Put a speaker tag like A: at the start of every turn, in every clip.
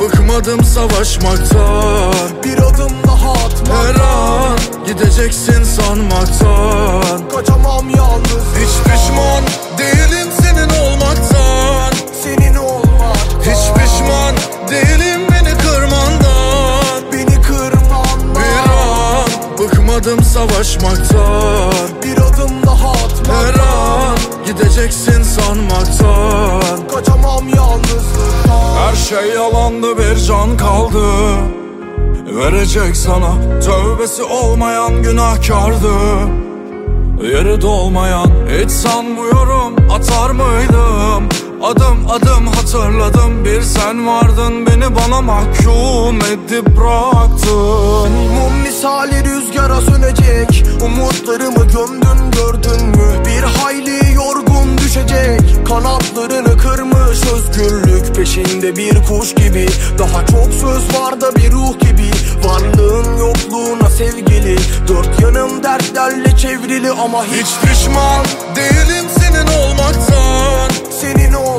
A: Bıkmadım savaşmaktan
B: Bir adım daha atmak
A: Her an gideceksin sanmaktan
B: Kaçamam yalnız
A: Hiç pişman değilim senin olmaktan
B: Senin olmak
A: Hiç pişman değilim beni kırmandan
B: Beni kırman
A: Bir an bıkmadım savaşmaktan
B: Bir adım daha atmak
A: Her an gideceksin sanmaktan
B: Kaçamam yalnızlıktan
A: Her şey yalandı bir can kaldı Verecek sana tövbesi olmayan günahkardı Yeri dolmayan hiç sanmıyorum atar mıydım Adım adım hatırladım bir sen vardın Beni bana mahkum edip bıraktın
B: Mum misali rüzgara sönecek Umutlarımı gömdün gördün mü Bir hayli yorgun düşecek Kanatlarını kırmış özgürlük Peşinde bir kuş gibi Daha çok söz var da bir ruh gibi Varlığın yokluğuna sevgili Dört yanım dertlerle çevrili Ama hiç
A: Hiç pişman değilim senin olmaktan
B: senin olmak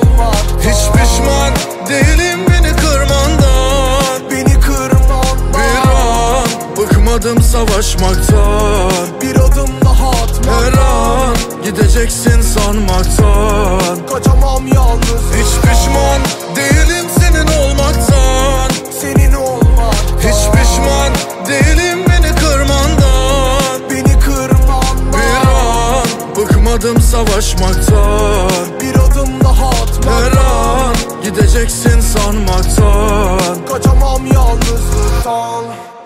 A: Hiç pişman değilim beni kırmandan
B: Beni kırman
A: Bir an bıkmadım savaşmaktan
B: Bir adım daha atmak
A: Her an gideceksin sanmaktan
B: Kaçamam yalnız
A: Hiç pişman değilim senin olmaktan
B: Senin olmak
A: Hiç pişman değilim beni kırmandan
B: Beni kırman
A: Bir an bıkmadım savaşmaktan
B: Bir adım daha atmak
A: Her an gideceksin sanmaktan
B: Kaçamam yalnızlıktan